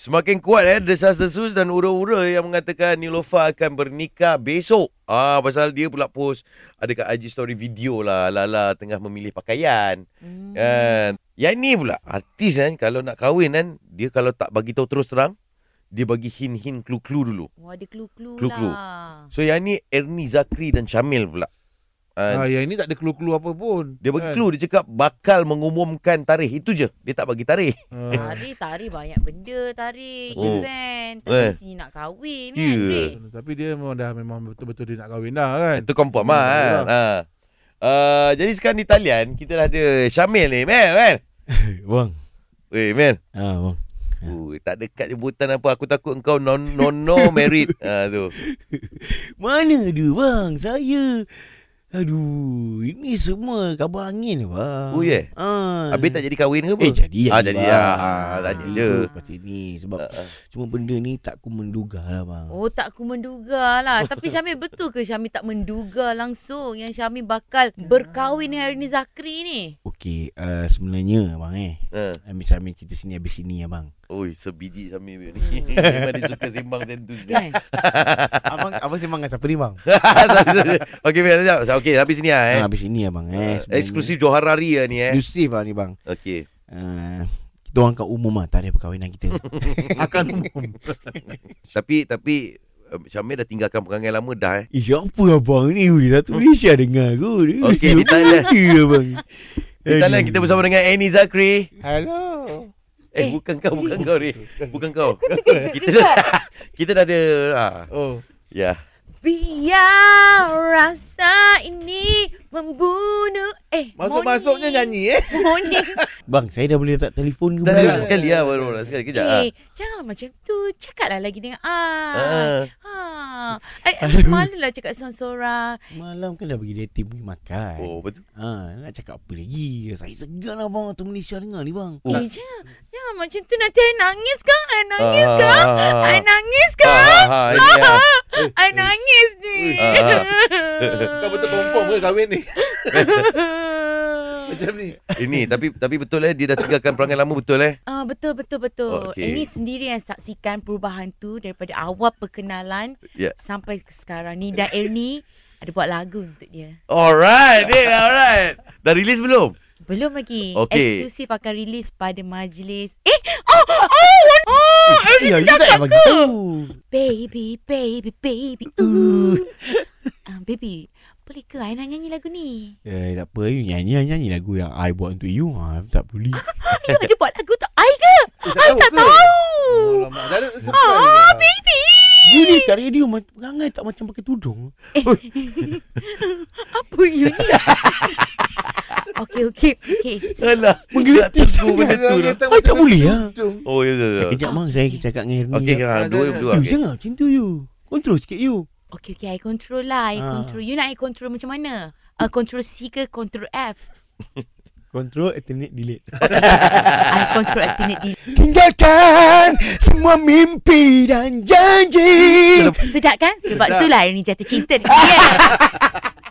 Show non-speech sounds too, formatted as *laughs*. Semakin kuat eh desas-desus dan ura-ura yang mengatakan Nilofa akan bernikah besok. Ah pasal dia pula post ada kat IG story video lah Lala tengah memilih pakaian. Hmm. Kan. Yang ni pula artis kan kalau nak kahwin kan dia kalau tak bagi tahu terus terang dia bagi hint-hint clue-clue dulu. Wah, ada clue-clue, Clue-clue. lah. So yang ni Ernie Zakri dan Syamil pula. Ha, Ah, yang ini tak ada clue-clue apa pun. kan? dia bagi clue dia cakap bakal mengumumkan tarikh itu je. Dia tak bagi tarikh. *laughs* Ha. Tari, tari banyak benda tari. Oh. Oh. Event. Eh. Terus mesti nak kahwin kan. Ya. Ray? Tapi dia memang dah memang betul-betul dia nak kahwin dah kan. Itu confirm lah kan. Ha. Uh, jadi sekarang di talian kita dah ada Syamil ni, man, man. Bang. Weh, man. Ha bang. Uh, tak dekat jemputan apa. Aku takut engkau non non no *laughs* married. ha, tu. Mana dia bang? Saya Aduh, ini semua kabar angin bang. Oh, ya? Ha. Habis tak jadi kahwin ke apa? Eh jadi Ah, jadi jadi bang. lah. Ah, tanya Jadi je. tu Pasal ni sebab Ah, ah. cuma benda ni tak ku menduga lah bang. Oh tak ku menduga lah Tapi Syamil betul ke Syamil tak menduga langsung Yang Syamil bakal berkahwin dengan Rini Zakri ni Okey, uh, sebenarnya bang eh. Ha. Ambil sambil cerita sini habis sini ya, abang. Oi, sebiji Syamil ni. Hmm. *laughs* Memang dia suka sembang macam tu. *laughs* Kan *laughs* abang abang sembang dengan siapa ni bang? Okey, man. sekejap. Okey, habis sini lah eh. Ha, habis sini abang eh. Ah, sebenarnya. eksklusif Johar Rari lah ni eh. Eksklusif lah ni bang. *laughs* Okey. Uh, kita orang kat umum lah tarikh perkahwinan kita. *laughs* Akan umum. Tapi tapi uh, Syamil dah tinggalkan perangai lama dah eh. Eh, siapa abang ni? Ui, satu Malaysia dengar aku. Hmm. Okey, di Thailand. *laughs* Dia abang. Di talian lah kita bersama dengan Annie Zakri. Hello. Eh, Eh. bukan kau, *laughs* bukan kau ni. Bukan kau. *laughs* kita dah, Kejap-kejap. kita dah ada ha. Oh. Ya. Biar rasa ini membunuh Eh Masuk-masuknya morning. nyanyi eh. Morning Bang, saya dah boleh letak telefon ke Dah belum? dah sekali ah, baru dah sekali kejap ah. Eh janganlah macam tu Cakaplah lagi dengan Ah. ah. Ah. Eh, eh, malu lah cakap seorang-seorang Malam kan dah pergi dating pergi makan. Oh, betul. Ha, nak cakap apa lagi? Saya segan lah bang. Tu Malaysia dengar ni *laughs* bang. Oh. Eh jangan, jangan macam tu Nanti I nangis kan I nangis Ah, kan ah, ah, I ah. nangis Ah, kan ah, ah, ini, *laughs* ah. I nangis ni. Ah, ah. Kau betul confirm ke kahwin ni? Macam ni. Ini tapi tapi betul eh dia dah tinggalkan perangai lama betul eh. Ah, betul betul betul. Oh, okey. Ini sendiri yang saksikan perubahan tu daripada awal perkenalan Ya. sampai ke sekarang ni dan Ernie ada buat lagu untuk dia. Alright, eh, alright. Dah release belum? Belum lagi. Okey. Eksklusif akan rilis pada majlis. Eh, oh, oh, oh, oh Eh, Ernie Ya, you tak payah bagi tahu. Baby, baby, *laughs* baby. Ooh. Ah, baby, boleh ke I nak nyanyi lagu ni? Eh, tak apa. You nyanyi-nyanyi lagu yang I buat untuk you. Ha, tak peduli. You ada buat lagu tak I ke? I tak ke? tahu. Alamak, dah ada surprise Oh, dah. baby. you ni kat radio ma- perangai tak macam pakai tudung. *laughs* Apa you ni? okay, okay, okay. Alah, Menggelitik tak tunggu sangat. benda tu dah. I tak boleh lah. Dung. Oh, ya betul. betul. Eh, Kejap bang, saya cakap dengan Ernie. Okey, lah. ha, dua dua. You okey. jangan macam tu you. Control sikit you. Okay, okay, I control lah. I Ah. control. You nak I control macam mana? Uh, control C ke control F? Control, alternate, delete. I control alternate D. Tinggalkan semua mimpi dan janji. Sedap kan? Sebab itulah Ernie jatuh cinta dengan dia.